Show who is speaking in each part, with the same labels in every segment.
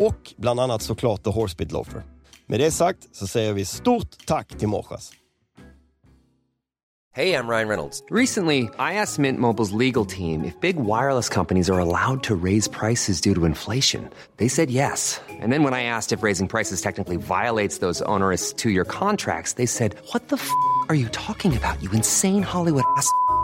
Speaker 1: Och bland annat såklart The Horsebit Loafer. Med det sagt så säger vi stort tack till Morsas.
Speaker 2: Hey, I'm Ryan Reynolds. Recently, I asked Mint Mobile's legal team if big wireless companies are allowed to raise prices due to inflation. They said yes. And then when I asked if raising prices technically violates those onerous two year contracts, they said, What the f are you talking about, you insane Hollywood ass? f- a-"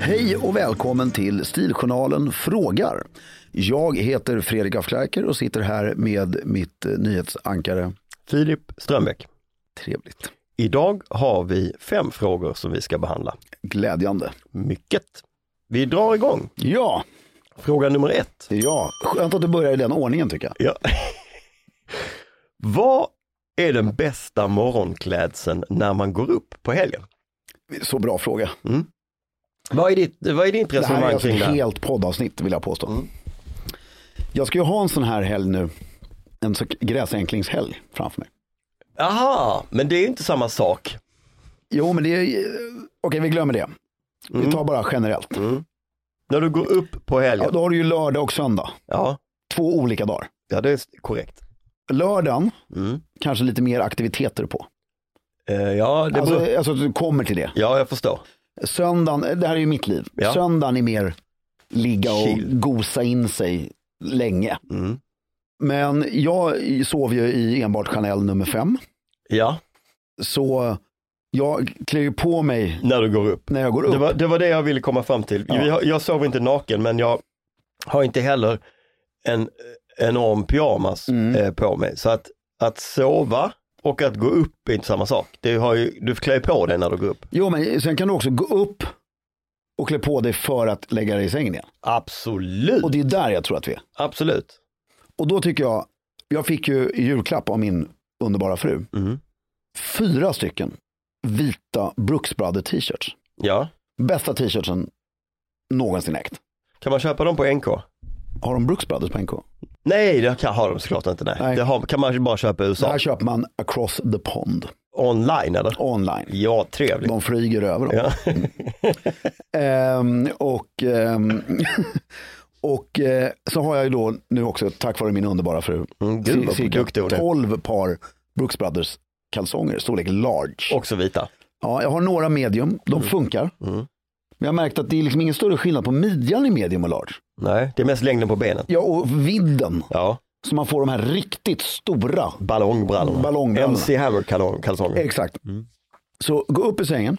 Speaker 3: Hej och välkommen till Stiljournalen frågar. Jag heter Fredrik af Klerker och sitter här med mitt eh, nyhetsankare.
Speaker 1: Filip Strömbäck.
Speaker 3: Trevligt.
Speaker 1: Idag har vi fem frågor som vi ska behandla.
Speaker 3: Glädjande.
Speaker 1: Mycket. Vi drar igång.
Speaker 3: Ja,
Speaker 1: Fråga nummer ett.
Speaker 3: ja. skönt att du börjar i den ordningen tycker jag.
Speaker 1: Ja. Vad är den bästa morgonklädseln när man går upp på helgen?
Speaker 3: Så bra fråga.
Speaker 1: Vad är ditt, vad är ditt
Speaker 3: Det här är
Speaker 1: resonemang
Speaker 3: alltså
Speaker 1: kring det?
Speaker 3: ett
Speaker 1: här?
Speaker 3: helt poddavsnitt vill jag påstå. Jag ska ju ha en sån här helg nu. En så- gräsänklingshelg framför mig.
Speaker 1: Aha, men det är ju inte samma sak.
Speaker 3: Jo, men det är... eh, Okej, vi glömmer det. Vi tar bara generellt.
Speaker 1: När du går upp på
Speaker 3: Ja,
Speaker 1: helgen.
Speaker 3: då har du ju lördag och söndag.
Speaker 1: Ja,
Speaker 3: Två olika dagar.
Speaker 1: ja det är korrekt.
Speaker 3: Lördagen,
Speaker 1: Mm.
Speaker 3: kanske lite mer aktiviteter på.
Speaker 1: Eh, Ja, det beror...
Speaker 3: Alltså, alltså att du kommer till det.
Speaker 1: ja, jag förstår.
Speaker 3: Söndagen, det här är ju mitt liv.
Speaker 1: Ja.
Speaker 3: Söndagen är mer ligga och
Speaker 1: Chill.
Speaker 3: gosa in sig länge.
Speaker 1: Mm.
Speaker 3: Men jag sov ju i enbart Chanel nummer fem.
Speaker 1: Ja,
Speaker 3: Så jag klär ju på mig
Speaker 1: när du går upp.
Speaker 3: när jag går upp.
Speaker 1: Det var, det var det jag ville komma fram till.
Speaker 3: Ja.
Speaker 1: Jag, jag sover inte naken, men jag har inte heller en enorm pyjamas
Speaker 3: Mm.
Speaker 1: eh, på mig. Så att, att sova och att gå upp är inte samma sak. Det har ju, du klär ju på dig när du går upp.
Speaker 3: Jo, men sen kan du också gå upp och klä på dig för att lägga dig i sängen igen.
Speaker 1: Absolut,
Speaker 3: Och det är där jag tror att vi är.
Speaker 1: absolut.
Speaker 3: Och då tycker jag, jag fick ju i julklapp av min underbara fru,
Speaker 1: Mm.
Speaker 3: fyra stycken vita Brooks Brothers t-shirts.
Speaker 1: Ja.
Speaker 3: Bästa t-shirtsen någonsin ägt.
Speaker 1: Kan man köpa dem på NK?
Speaker 3: Har de Brooks Brothers på NK?
Speaker 1: Nej, det kan, har de såklart inte. Nej.
Speaker 3: Nej.
Speaker 1: Det har, kan man ju bara köpa i
Speaker 3: Så.
Speaker 1: USA.
Speaker 3: Där köper man across the pond,
Speaker 1: Online eller?
Speaker 3: online.
Speaker 1: Ja, trevligt.
Speaker 3: De flyger över dem.
Speaker 1: Ja.
Speaker 3: Ehm, och ehm, och eh, så har jag ju då nu också, tack vare min underbara fru,
Speaker 1: Mm, gud, vad
Speaker 3: cirka
Speaker 1: duktig hon är.
Speaker 3: 12 par Brooks Brothers kalsonger, storlek large.
Speaker 1: Också vita.
Speaker 3: Ja, jag har några medium, de funkar. Men jag har märkt att det är liksom ingen större skillnad på midjan i medium och large.
Speaker 1: Nej, det är mest längden på benen.
Speaker 3: Ja, och vidden.
Speaker 1: Ja,
Speaker 3: Så man får de här riktigt stora.
Speaker 1: Mm. ballongbrallorna.
Speaker 3: Ballongbrallorna.
Speaker 1: MC Hammer-kalsonger. Mm.
Speaker 3: Exakt. Så gå upp i sängen,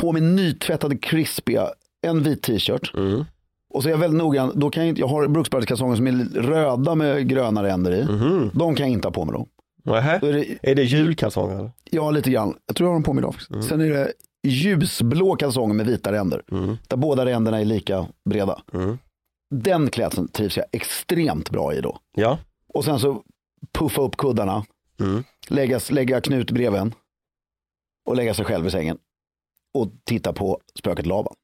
Speaker 3: på med nytvättade krispiga, en vit t-shirt.
Speaker 1: Mm.
Speaker 3: Och så är jag väldigt noggrann, då kan jag, inte, jag har Brooks Brothers-kalsonger som är röda med gröna ränder i.
Speaker 1: Mm.
Speaker 3: De kan jag inte ha på mig då.
Speaker 1: Nähä.
Speaker 3: Då är det,
Speaker 1: Är det julkalsonger? eller?
Speaker 3: ja, lite grann. Jag tror jag har dem på mig idag. faktiskt. Sen är det ljusblå kalsonger med vita ränder. Där båda ränderna är lika breda.
Speaker 1: Mm.
Speaker 3: Den klädseln trivs jag extremt bra i då.
Speaker 1: Ja.
Speaker 3: Och sen så puffa upp kuddarna,
Speaker 1: Mm.
Speaker 3: lägga, lägga Knut bredvid en och lägga sig själv i sängen och titta på spöket Laban.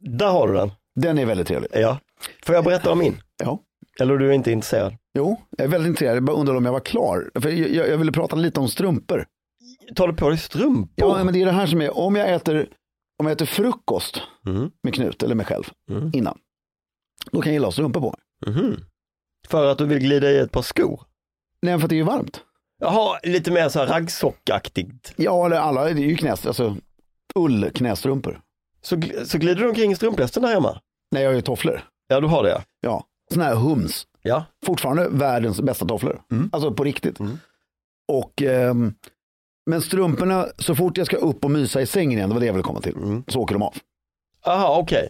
Speaker 1: Där har du den.
Speaker 3: Den är väldigt trevlig.
Speaker 1: Ja. Får jag berätta om min?
Speaker 3: Ja.
Speaker 1: Eller du är inte intresserad?
Speaker 3: Jo, jag är väldigt intresserad. Jag bara undrar om jag var klar. För jag, jag, jag ville prata lite om strumpor.
Speaker 1: Tar du på dig strumpor?
Speaker 3: Ja, men det är det här som är, om jag äter, om jag äter frukost
Speaker 1: Mm.
Speaker 3: med Knut eller mig själv
Speaker 1: Mm.
Speaker 3: innan, då kan jag gilla strumpor på mig.
Speaker 1: Mhm. För att du vill glida i ett par skor?
Speaker 3: Nej, för att det är ju varmt.
Speaker 1: Jaha, lite mer så här raggsockaktigt.
Speaker 3: Ja, eller alla, det är ju knäs, alltså ullknästrumpor.
Speaker 1: Så, gl- så glider du omkring i strumplästen här hemma?
Speaker 3: Nej, jag har ju tofflor.
Speaker 1: Ja, du har det ja.
Speaker 3: Ja, sådana här hums.
Speaker 1: Ja,
Speaker 3: fortfarande världens bästa tofflor. Alltså på riktigt. Och, ehm, men strumporna, så fort jag ska upp och mysa i sängen igen, det var det jag ville komma till, så åker de av.
Speaker 1: aha okej.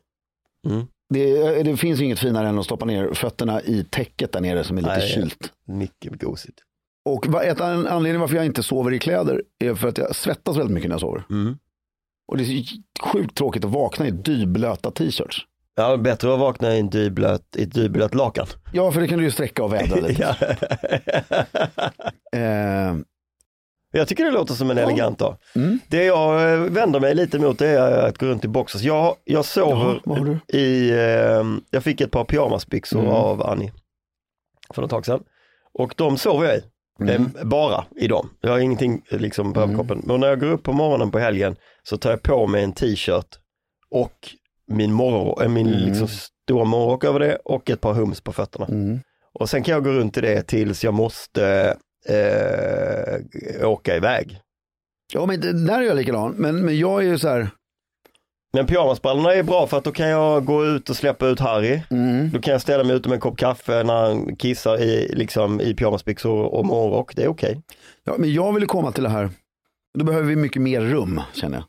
Speaker 3: Det, det finns ju inget finare än att stoppa ner fötterna i täcket där nere som är lite
Speaker 1: Nej.
Speaker 3: kylt.
Speaker 1: Mycket gosigt.
Speaker 3: Och va- ett, en anledning varför jag inte sover i kläder är för att jag svettas väldigt mycket när jag sover. Och det är så sjukt tråkigt att vakna i dyblöta t-shirts.
Speaker 1: Ja, bättre att vakna i, en dyblöt, i ett dyblöt lakan.
Speaker 3: Ja, för det kan du ju sträcka och vädra lite.
Speaker 1: Ja.
Speaker 3: Eh,
Speaker 1: Jag tycker det låter som en elegant dag.
Speaker 3: Mm.
Speaker 1: Det jag eh, vänder mig lite mot det är att gå runt i boxers. Jag, jag sover
Speaker 3: Jaha, vad har du?
Speaker 1: i, eh, jag fick ett par pyjamasbyxor
Speaker 3: Mm.
Speaker 1: av Annie för något tag sedan. Och de sover jag i,
Speaker 3: Mm.
Speaker 1: Eh, bara i dem. Jag har ingenting eh, liksom på överkroppen. Men när jag går upp på morgonen på helgen så tar jag på mig en t-shirt och min, morgon, min liksom stora morgonrock över det och ett par hums på fötterna.
Speaker 3: Mm.
Speaker 1: Och sen kan jag gå runt i det tills jag måste eh, åka iväg.
Speaker 3: ja, men det, där är jag likadan. Men, men jag är ju så här,
Speaker 1: Men pyjamasbrallorna är bra för att då kan jag gå ut och släppa ut Harry.
Speaker 3: Mm.
Speaker 1: Då kan jag ställa mig ute med en kopp kaffe när han kissar i, liksom, i pyjamasbyxor och morgonrock. Det är okej.
Speaker 3: Ja, men jag vill ju komma till det här, då behöver vi mycket mer rum känner jag.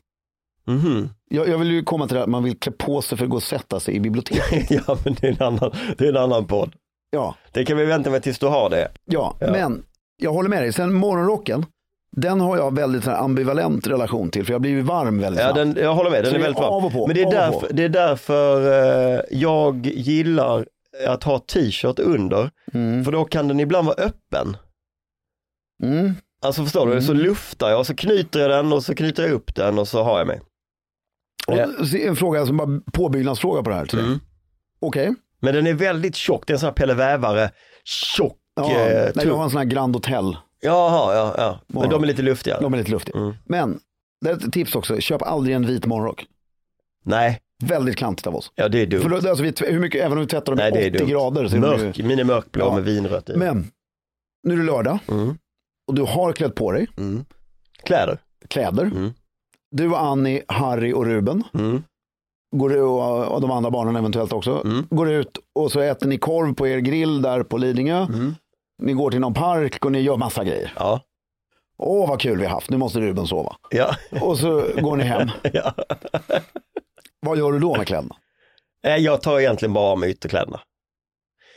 Speaker 1: Mhm.
Speaker 3: Jag, jag vill ju komma till det här att man vill klä på sig för att gå och sätta sig i biblioteket.
Speaker 1: ja, men det är, en annan, det är en annan podd.
Speaker 3: Ja,
Speaker 1: Det kan vi vänta med tills du har det.
Speaker 3: ja, men jag håller med dig. Sen morgonrocken, den har jag väldigt så här ambivalent relation till för jag blir ju varm väldigt
Speaker 1: Ja,
Speaker 3: snabbt.
Speaker 1: den, jag håller med,
Speaker 3: Så
Speaker 1: den är
Speaker 3: det är
Speaker 1: väldigt bra.
Speaker 3: av och på,
Speaker 1: men det är
Speaker 3: av och
Speaker 1: därför,
Speaker 3: på.
Speaker 1: det är därför eh, jag gillar att ha t-shirt under. För då kan den ibland vara öppen.
Speaker 3: Mm.
Speaker 1: Alltså förstår du, så luftar jag och så knyter jag den och så knyter jag upp den och så har jag mig.
Speaker 3: Och så är en fråga som bara påbyggnadsfråga på det här. till
Speaker 1: Mm.
Speaker 3: dig. Okej,
Speaker 1: Men den är väldigt tjock, det är en sån här Pelle Vävare, tjock,
Speaker 3: ja,
Speaker 1: eh,
Speaker 3: nej, jag har
Speaker 1: tunn.
Speaker 3: en sån här Grand Hotel,
Speaker 1: Jaha, ja, ja. Men
Speaker 3: Ja.
Speaker 1: de är lite luftiga.
Speaker 3: de är lite luftiga.
Speaker 1: Mm.
Speaker 3: Men, det är ett tips också, köp aldrig en vit morgonrock.
Speaker 1: Nej,
Speaker 3: Väldigt klantigt av oss.
Speaker 1: ja det är dumt.
Speaker 3: För då, alltså, vi, tv- hur mycket, även om vi tvättar dem
Speaker 1: Nej, det
Speaker 3: i
Speaker 1: är
Speaker 3: 80
Speaker 1: dumt.
Speaker 3: grader så är de ju...
Speaker 1: Mörk, min är mörkblå
Speaker 3: Ja.
Speaker 1: med vinrött i.
Speaker 3: Men nu är det lördag
Speaker 1: Mm.
Speaker 3: och du har klätt på dig
Speaker 1: Kläder.
Speaker 3: kläder.
Speaker 1: Mm.
Speaker 3: Du och Annie, Harry och Ruben,
Speaker 1: Mm.
Speaker 3: går du och, och de andra barnen eventuellt också,
Speaker 1: Mm.
Speaker 3: går ut och så äter ni korv på er grill där på Lidingö.
Speaker 1: Mm.
Speaker 3: Ni går till någon park och ni gör massa grejer.
Speaker 1: Ja.
Speaker 3: Åh vad kul vi har haft, nu måste Ruben sova.
Speaker 1: Ja.
Speaker 3: Och så går ni hem.
Speaker 1: ja.
Speaker 3: Vad gör du då med kläderna?
Speaker 1: Nej, jag tar egentligen bara av mig ytterkläderna.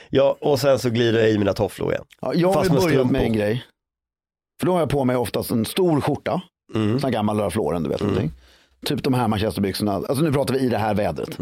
Speaker 1: Ja, och sen så glider jag i mina tofflor igen.
Speaker 3: Ja, jag har
Speaker 1: Fast
Speaker 3: ju
Speaker 1: med
Speaker 3: börjat
Speaker 1: strumpor.
Speaker 3: med en grej. För då har jag på mig oftast en stor skjorta,
Speaker 1: Mm.
Speaker 3: sån här gammal Ralph Lauren, du vet. någonting. Typ de här manchesterbyxorna, alltså nu pratar vi i det här vädret.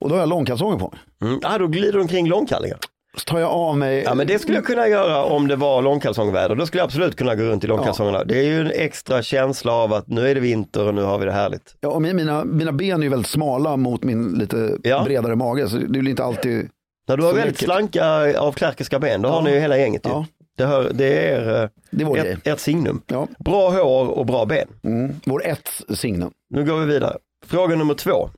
Speaker 3: Och då har jag långkalsonger på mig.
Speaker 1: Mm. Ah, då glider de kring långkallingar.
Speaker 3: Så tar jag av mig.
Speaker 1: Ja men det skulle jag kunna göra om det var långkalsongväder. Då skulle jag absolut kunna gå runt i långkalsongerna. Det är ju en extra känsla av att nu är det vinter och nu har vi det härligt.
Speaker 3: Ja, och min- mina, mina ben är ju väldigt smala mot min lite
Speaker 1: Ja.
Speaker 3: bredare mage. Så det blir inte alltid...
Speaker 1: När du har
Speaker 3: Så
Speaker 1: väldigt
Speaker 3: läckert.
Speaker 1: slanka avkläkerska ben, då har ni ju hela gänget ju.
Speaker 3: Ja.
Speaker 1: Det, hör, det är eh,
Speaker 3: Det är vår grej.
Speaker 1: ert, ert signum.
Speaker 3: Ja.
Speaker 1: Bra hår och bra ben.
Speaker 3: Mm. Vår ett signum.
Speaker 1: Nu går vi vidare. Fråga nummer två.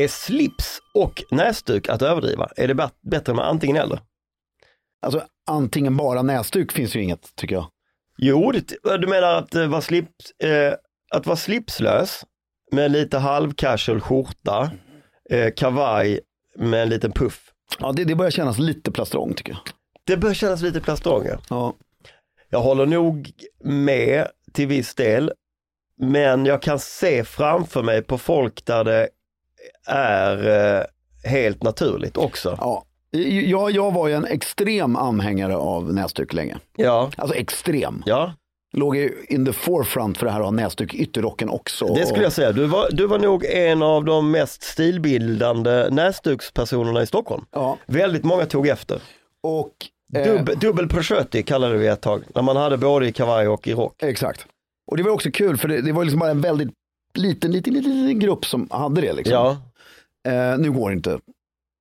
Speaker 1: Är slips och näsduk att överdriva? Är det bat- bättre med antingen eller?
Speaker 3: Alltså antingen bara näsduk finns ju inget tycker jag.
Speaker 1: Jo, det, du menar att eh, vara, slips, eh, att vara slipslös med lite halvcasual skjorta, eh, kavaj med en liten puff.
Speaker 3: Ja, det, det börjar kännas lite plastrong tycker jag.
Speaker 1: Det bör kännas lite plastranger.
Speaker 3: Ja.
Speaker 1: Jag håller nog med till viss del, men jag kan se framför mig på folk där det är eh, helt naturligt också.
Speaker 3: Ja. Jag, jag var ju en extrem anhängare av näsduk länge.
Speaker 1: Ja,
Speaker 3: Alltså extrem.
Speaker 1: ja.
Speaker 3: Låg ju in the forefront för det här att ha näsduk i ytterrocken också.
Speaker 1: det skulle jag
Speaker 3: Och-
Speaker 1: säga. Du var, du var nog en av de mest stilbildande näsdukspersonerna i Stockholm.
Speaker 3: Ja,
Speaker 1: Väldigt många tog efter.
Speaker 3: och... eh,
Speaker 1: Dub, dubbel prosciutto kallade vi ett tag, när man hade både i kavaj och i rock.
Speaker 3: Exakt. Och det var också kul för det, det var liksom bara en väldigt liten, liten, liten, liten grupp som hade det. Liksom.
Speaker 1: Ja,
Speaker 3: Eh, nu går det inte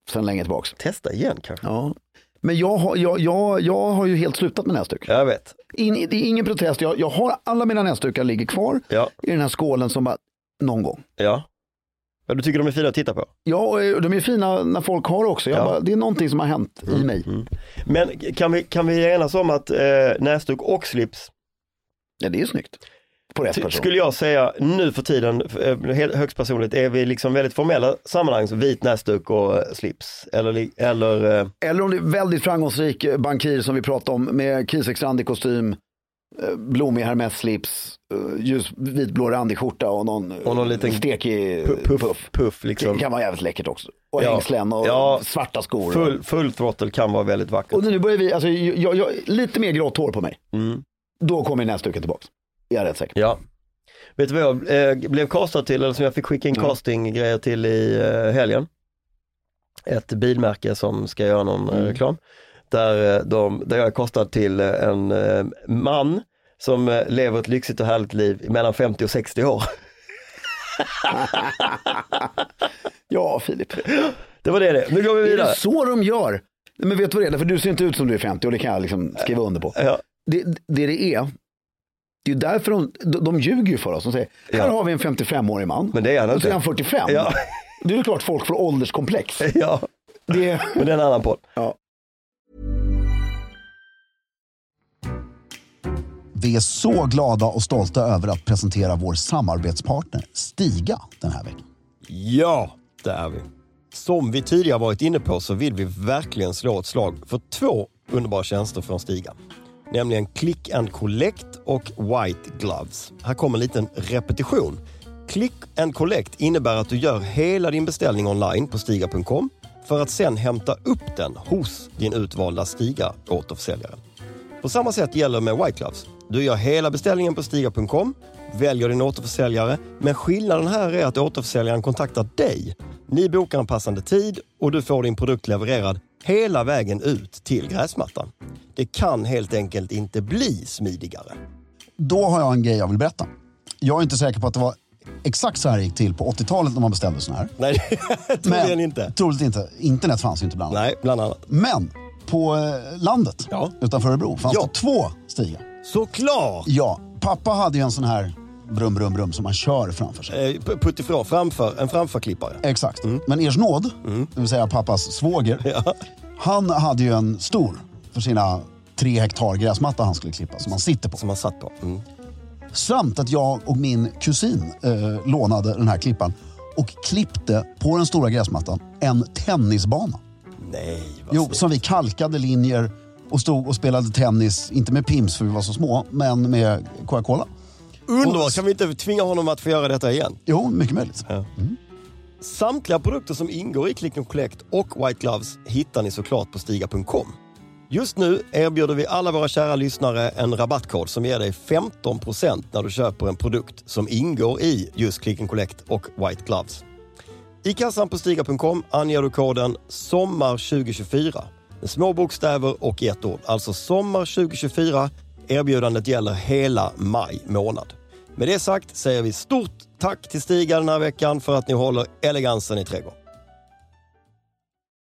Speaker 3: sen länge tillbaks.
Speaker 1: testa igen kanske.
Speaker 3: Ja. Men jag har, jag, jag, jag har ju helt slutat med näsduk.
Speaker 1: Jag vet.
Speaker 3: In, det är ingen protest, jag, jag har alla mina näsdukar ligger kvar
Speaker 1: Ja,
Speaker 3: i den här skålen som bara, någon gång.
Speaker 1: ja. ja. Du tycker de är fina att titta på?
Speaker 3: Ja, och eh, de är ju fina när folk har också. Jag
Speaker 1: Ja. Mm.
Speaker 3: bara, det är någonting som har hänt i mig.
Speaker 1: Men kan vi, kan vi enas om att eh, näsduk och slips
Speaker 3: Ja, det är ju snyggt. På rätt
Speaker 1: ty-
Speaker 3: person.
Speaker 1: skulle jag säga nu för tiden, eh, helt- högst personligt, är vi liksom väldigt formella sammanhang, så vit näsduk och eh, slips. Eller, li- eller eh,
Speaker 3: Eller om det är väldigt framgångsrik eh, bankir som vi pratade om med kisex-randig kostym, eh, blommig Hermes-slips, eh, ljus vitblå randig skjorta och någon, eh,
Speaker 1: Och någon liten
Speaker 3: stekig eh,
Speaker 1: pu- puff, puff,
Speaker 3: Det
Speaker 1: liksom.
Speaker 3: kan vara jävligt läckert också. Och
Speaker 1: Ja.
Speaker 3: hängslen och
Speaker 1: Ja.
Speaker 3: svarta skor.
Speaker 1: Full, full throttle kan vara väldigt vackert.
Speaker 3: Och nu börjar vi, alltså, jag, jag, lite mer grått hår på mig.
Speaker 1: Mm.
Speaker 3: Då kommer näsduken tillbaka. Jag är rätt säker.
Speaker 1: Ja. Vet du vad jag eh, blev castad till, eller som jag fick skicka in castinggrejer till i eh, helgen? Ett bilmärke som ska göra någon eh, reklam. Där, eh, de, där jag är castad till eh, en eh, man som eh, lever ett lyxigt och härligt liv mellan 50 och 60 år.
Speaker 3: Ja, Filip.
Speaker 1: Det var det det. Nu går vi
Speaker 3: Är det
Speaker 1: vidare.
Speaker 3: så de gör? Nej, Men vet du vad det är? Därför du ser inte ut som du är 50 och det kan jag liksom skriva under på.
Speaker 1: Ja,
Speaker 3: det, det det är, det är ju därför de, de, de ljuger ju för oss. De säger, här
Speaker 1: Ja.
Speaker 3: har vi en 55-årig man.
Speaker 1: men det är han
Speaker 3: och så är han
Speaker 1: inte.
Speaker 3: 45.
Speaker 1: Ja.
Speaker 3: Det är ju klart folk får ålderskomplex.
Speaker 1: Ja,
Speaker 3: Det är,
Speaker 1: men det är en annan podd.
Speaker 3: ja.
Speaker 4: Vi är så glada och stolta över att presentera vår samarbetspartner Stiga den här veckan.
Speaker 1: Ja, det är vi. Som vi tidigare varit inne på så vill vi verkligen slå ett slag för två underbara tjänster från Stiga. Nämligen Click and Collect och White Gloves. Här kommer en liten repetition. Click and Collect innebär att du gör hela din beställning online på stiga.com för att sen hämta upp den hos din utvalda Stiga återförsäljare. På samma sätt gäller med White Gloves. Du gör hela beställningen på Stiga.com, väljer din återförsäljare, men skillnaden här är att återförsäljaren kontaktar dig. Ni bokar en passande tid och du får din produkt levererad hela vägen ut till gräsmattan. Det kan helt enkelt inte bli smidigare.
Speaker 4: Då har jag en grej jag vill berätta. Jag är inte säker på att det var exakt så här det gick till på 80-talet när man beställde sådana här.
Speaker 1: Nej, troligen inte.
Speaker 4: Troligt inte. Internet fanns ju inte bland annat.
Speaker 1: Nej, bland annat.
Speaker 4: Men på eh, landet
Speaker 1: Ja.
Speaker 4: utanför Örebro fanns
Speaker 1: Ja.
Speaker 4: det två stigar.
Speaker 1: Såklart!
Speaker 4: Ja, pappa hade ju en sån här brum, brum, brum som man kör framför sig.
Speaker 1: Eh, p- Puttifrån, framför, en framförklippare.
Speaker 4: Exakt.
Speaker 1: Mm.
Speaker 4: Men Ers nåd, det vill säga pappas svåger, han hade ju en stor för sina tre hektar gräsmatta han skulle klippa som han sitter på.
Speaker 1: Som man satt på. Mm.
Speaker 4: Samt att jag och min kusin eh, lånade den här klippan och klippte på den stora gräsmattan en tennisbana.
Speaker 1: Nej, vad
Speaker 4: Jo,
Speaker 1: snyggt.
Speaker 4: som vi kalkade linjer och stod och spelade tennis, inte med pims för vi var så små, men med Coca-Cola.
Speaker 1: Underbart, kan vi inte tvinga honom att få göra detta igen?
Speaker 4: Jo, mycket möjligt.
Speaker 1: Samtliga produkter som ingår i Click and Collect och White Gloves hittar ni såklart på Stiga.com. Just nu erbjuder vi alla våra kära lyssnare en rabattkod som ger dig 15% när du köper en produkt som ingår i just Click and Collect och White Gloves. I kassan på Stiga.com anger du koden SOMMAR2024 med små bokstäver och ett ord. Alltså sommar 2024. Erbjudandet gäller hela maj månad. Med det sagt säger vi stort tack till Stiga den här veckan för att ni håller elegansen i trädgården.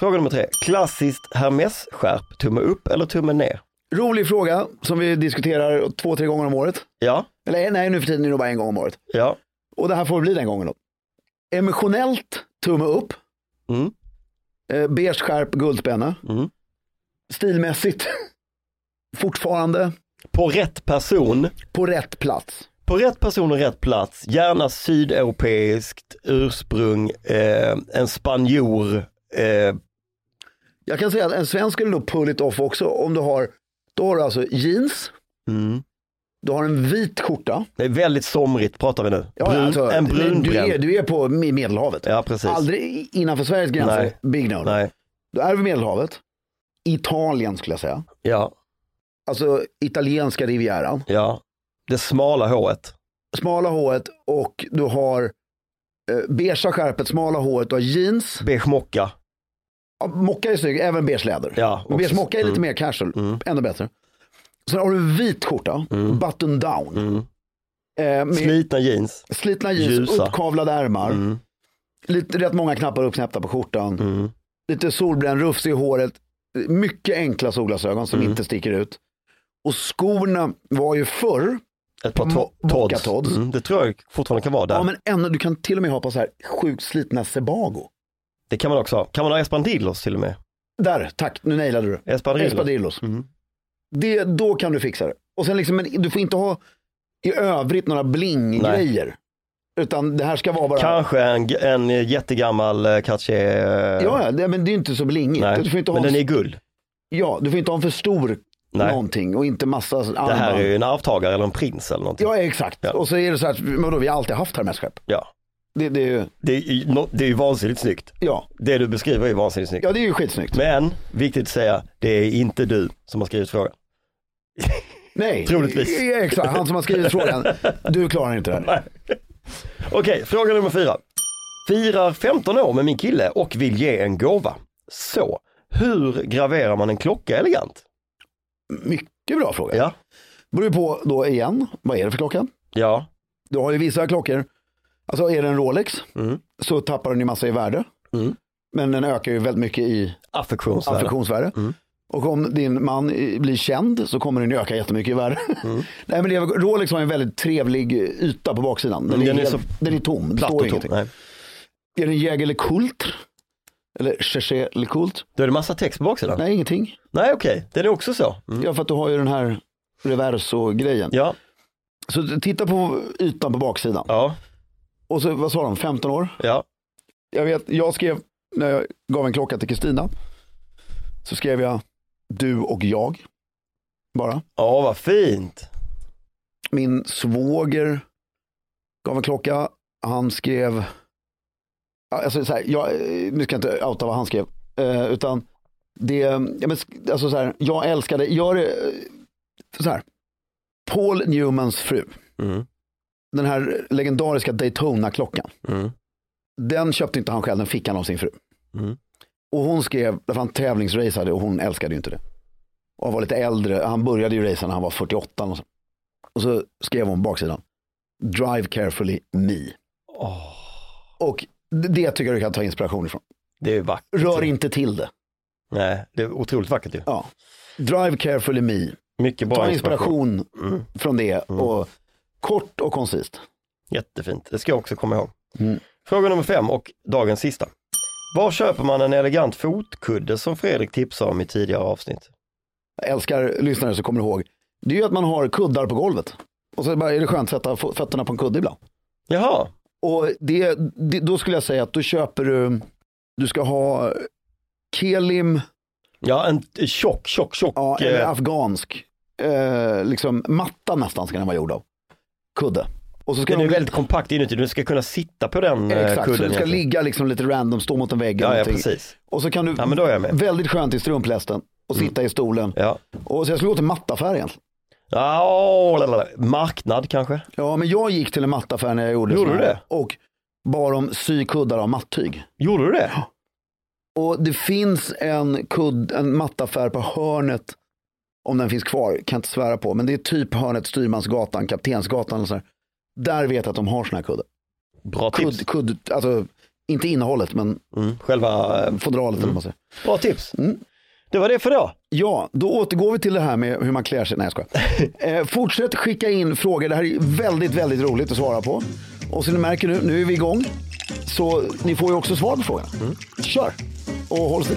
Speaker 1: Fråga nummer tre. Klassiskt Hermes-skärp. Tumme upp eller tumme ner?
Speaker 3: Rolig fråga som vi diskuterar två, tre gånger om året.
Speaker 1: Ja,
Speaker 3: Eller eh, nej, nu för tiden är det nog bara en gång om året.
Speaker 1: ja.
Speaker 3: Och det här får bli den gången då. Emotionellt, tumme upp.
Speaker 1: Mm.
Speaker 3: Eh, beige skärp, guldspänne.
Speaker 1: Mm.
Speaker 3: Stilmässigt, fortfarande
Speaker 1: På rätt person.
Speaker 3: på rätt plats.
Speaker 1: På rätt person och rätt plats. Gärna sydeuropeiskt ursprung. Eh, en spanjor. Eh,
Speaker 3: Jag kan säga att en svensk skulle nog pull it off också om du har, då har du alltså jeans,
Speaker 1: mm.
Speaker 3: du har en vit skjorta.
Speaker 1: Det är väldigt somrigt pratar vi nu. Brun,
Speaker 3: alltså,
Speaker 1: en
Speaker 3: du,
Speaker 1: brunbränd.
Speaker 3: är, du är på Me- Medelhavet.
Speaker 1: Ja, precis.
Speaker 3: Aldrig innanför Sveriges gränser,
Speaker 1: Nej.
Speaker 3: big no.
Speaker 1: Nej,
Speaker 3: Då är vi vid Medelhavet, Italien skulle jag säga.
Speaker 1: ja,
Speaker 3: Alltså italienska rivieran.
Speaker 1: ja. Det smala hået.
Speaker 3: smala håret och du har eh, beigea skärpet, smala håret, du har jeans.
Speaker 1: Beige mocka.
Speaker 3: Ja, Mocka är snygg, även beige läder.
Speaker 1: Ja,
Speaker 3: Men beige
Speaker 1: också. Mm.
Speaker 3: mocka är lite mer casual, ännu bättre. Sen har du vit skjorta,
Speaker 1: Mm.
Speaker 3: button down. Eh, med
Speaker 1: Slitna jeans.
Speaker 3: slitna jeans,
Speaker 1: ljusa. Mm.
Speaker 3: uppkavlade ärmar. Lite, rätt många knappar uppknäppta på skjortan.
Speaker 1: Mm.
Speaker 3: Lite solbränd, rufsig i håret. Mycket enkla solglasögon som
Speaker 1: Mm.
Speaker 3: inte sticker ut. Och skorna var ju förr,
Speaker 1: Ett par to-
Speaker 3: Mo-
Speaker 1: Todds.
Speaker 3: mocka-todds.
Speaker 1: Mm, det tror jag fortfarande kan vara där.
Speaker 3: ja, men ännu, du kan till och med ha på så här sjukt slitna Sebago.
Speaker 1: Det kan man också ha. Kan man ha espadrillos till och med?
Speaker 3: Där, tack, nu nailade du det.
Speaker 1: Espadrillos.
Speaker 3: Espadrillos.
Speaker 1: Mm.
Speaker 3: Det, då kan du fixa det. Och sen liksom, men du får inte ha i övrigt några bling-grejer. Utan det här ska vara bara...
Speaker 1: Kanske en, en jättegammal eh, Cartier. eh,
Speaker 3: Ja, ja, det, men det är ju inte så blingigt.
Speaker 1: Nej.
Speaker 3: Du får inte ha
Speaker 1: Men
Speaker 3: en,
Speaker 1: den är i guld.
Speaker 3: ja, du får inte ha en för stor
Speaker 1: Nej.
Speaker 3: någonting och inte massa
Speaker 1: Det här
Speaker 3: armband.
Speaker 1: är ju en arvtagare eller en prins eller någonting.
Speaker 3: Ja, exakt.
Speaker 1: Ja.
Speaker 3: Och så är det så här, att, vadå, vi har alltid haft Hermes-skepp.
Speaker 1: Ja.
Speaker 3: Det, det är ju,
Speaker 1: Det, är, ju- nå- det är ju vansinnigt snyggt.
Speaker 3: ja.
Speaker 1: Det du beskriver är ju vansinnigt snyggt.
Speaker 3: ja, det är ju skitsnyggt.
Speaker 1: Men, viktigt att säga, det är inte du som har skrivit frågan.
Speaker 3: Nej,
Speaker 1: Troligtvis.
Speaker 3: Ja, exakt. Han som har skrivit frågan, du klarar inte det här.
Speaker 1: Okej, fråga nummer fyra. Firar 15 år med min kille och vill ge en gåva. Så, hur graverar man en klocka elegant?
Speaker 3: Mycket bra fråga.
Speaker 1: Ja,
Speaker 3: Beror ju på då igen, vad är det för klocka?
Speaker 1: ja,
Speaker 3: Du har ju vissa klockor, alltså är det en Rolex
Speaker 1: Mm.
Speaker 3: så tappar den ju massa i värde.
Speaker 1: Mm.
Speaker 3: Men den ökar ju väldigt mycket i
Speaker 1: affektionsvärde.
Speaker 3: affektionsvärde.
Speaker 1: Mm.
Speaker 3: Och om din man i- blir känd så kommer den ju öka jättemycket i värde.
Speaker 1: Mm.
Speaker 3: Nej, men det, Rolex har en väldigt trevlig yta på baksidan. Den,
Speaker 1: Men
Speaker 3: är, helt, den är tom, det
Speaker 1: platt
Speaker 3: står
Speaker 1: och tom.
Speaker 3: ingenting.
Speaker 1: Nej.
Speaker 3: Är det en Jäger eller Kult? Eller Cherché eller Kult?
Speaker 1: Då är det massa text på baksidan. Nej,
Speaker 3: Nej, ingenting.
Speaker 1: okej, den är också så. Mm.
Speaker 3: Ja, för att du har ju den här reverso-grejen.
Speaker 1: Ja,
Speaker 3: Så titta på ytan på baksidan.
Speaker 1: ja,
Speaker 3: Och så, vad sa de, 15 år?
Speaker 1: ja.
Speaker 3: Jag vet, jag skrev, när jag gav en klocka till Kristina, så skrev jag du och jag. Bara.
Speaker 1: Ja, vad fint.
Speaker 3: Min svåger gav en klocka, han skrev, Ja, alltså så här, jag, eh, nu ska jag inte outa vad han skrev, eh, utan det, ja, men, sk- alltså så här, jag älskade, jag är, eh, så här, Paul Newmans fru,
Speaker 1: Mm.
Speaker 3: den här legendariska Daytona-klockan,
Speaker 1: Mm.
Speaker 3: den köpte inte han själv, den fick han av sin fru.
Speaker 1: Mm.
Speaker 3: Och hon skrev, därför han tävlingsraceade och hon älskade ju inte det. Och han var lite äldre, han började ju racea när han var 48. Och så, och så skrev hon på baksidan, Drive carefully me. Och det- det tycker jag du kan ta inspiration ifrån.
Speaker 1: Det är ju vackert.
Speaker 3: Rör inte till det.
Speaker 1: Nej, det är otroligt vackert ju.
Speaker 3: Ja. Drive carefully me.
Speaker 1: Mycket bra
Speaker 3: Ta inspiration
Speaker 1: Mm.
Speaker 3: från det och kort och koncist.
Speaker 1: Jättefint, det ska jag också komma ihåg.
Speaker 3: Mm.
Speaker 1: Fråga nummer fem och dagens sista. Var köper man en elegant fotkudde som Fredrik tipsade om i tidigare avsnitt?
Speaker 3: Jag älskar lyssnare så kommer du ihåg. Det är ju att man har kuddar på golvet. Och så bara är det skönt att sätta fo- fötterna på en kudde ibland.
Speaker 1: Jaha,
Speaker 3: Och det, det, då skulle jag säga att då köper du Du ska ha kelim,
Speaker 1: Ja, en tjock, tjock, tjock.
Speaker 3: ja, eller
Speaker 1: eh,
Speaker 3: afghansk. Eh, liksom matta nästan ska den vara gjord av. Kudde. Och så ska
Speaker 1: den är
Speaker 3: de-
Speaker 1: väldigt kompakt inuti, du ska kunna sitta på den eh,
Speaker 3: Exakt,
Speaker 1: kudden.
Speaker 3: så den ska
Speaker 1: egentligen.
Speaker 3: ligga liksom lite random, stå mot en vägg. eller
Speaker 1: Ja, ja,
Speaker 3: någonting.
Speaker 1: precis.
Speaker 3: Och så kan du,
Speaker 1: Ja, men Mm. då är jag med.
Speaker 3: väldigt skönt i strumplästen och sitta i stolen.
Speaker 1: Ja.
Speaker 3: Och så jag skulle gå till mattaffär egentligen.
Speaker 1: Ja, åh, lalala. marknad kanske?
Speaker 3: Ja, men jag gick till en mattaffär när jag gjorde,
Speaker 1: Gjorde
Speaker 3: sån
Speaker 1: du
Speaker 3: här
Speaker 1: det?
Speaker 3: Och bar om sykuddar av mattyg.
Speaker 1: Gjorde du det?
Speaker 3: Och det finns en, kudd, en mattaffär på hörnet, om den finns kvar, kan jag inte svära på, men det är typ hörnet Styrmansgatan, Kaptensgatan och sådär. Där vet jag att de har sådana här kuddar.
Speaker 1: Bra tips.
Speaker 3: Kudd, kudd, alltså inte innehållet, men
Speaker 1: Mm. Själva, eh,
Speaker 3: fodralet eller vad man säger.
Speaker 1: bra tips.
Speaker 3: Mm.
Speaker 1: Det var det för idag.
Speaker 3: Ja, då återgår vi till det här med hur man klär sig. Nej, jag skojar. Eh, fortsätt skicka in frågor. Det här är väldigt, väldigt roligt att svara på. Och som ni märker nu, nu är vi igång. Så ni får ju också svar på frågorna. Kör! Och håll still.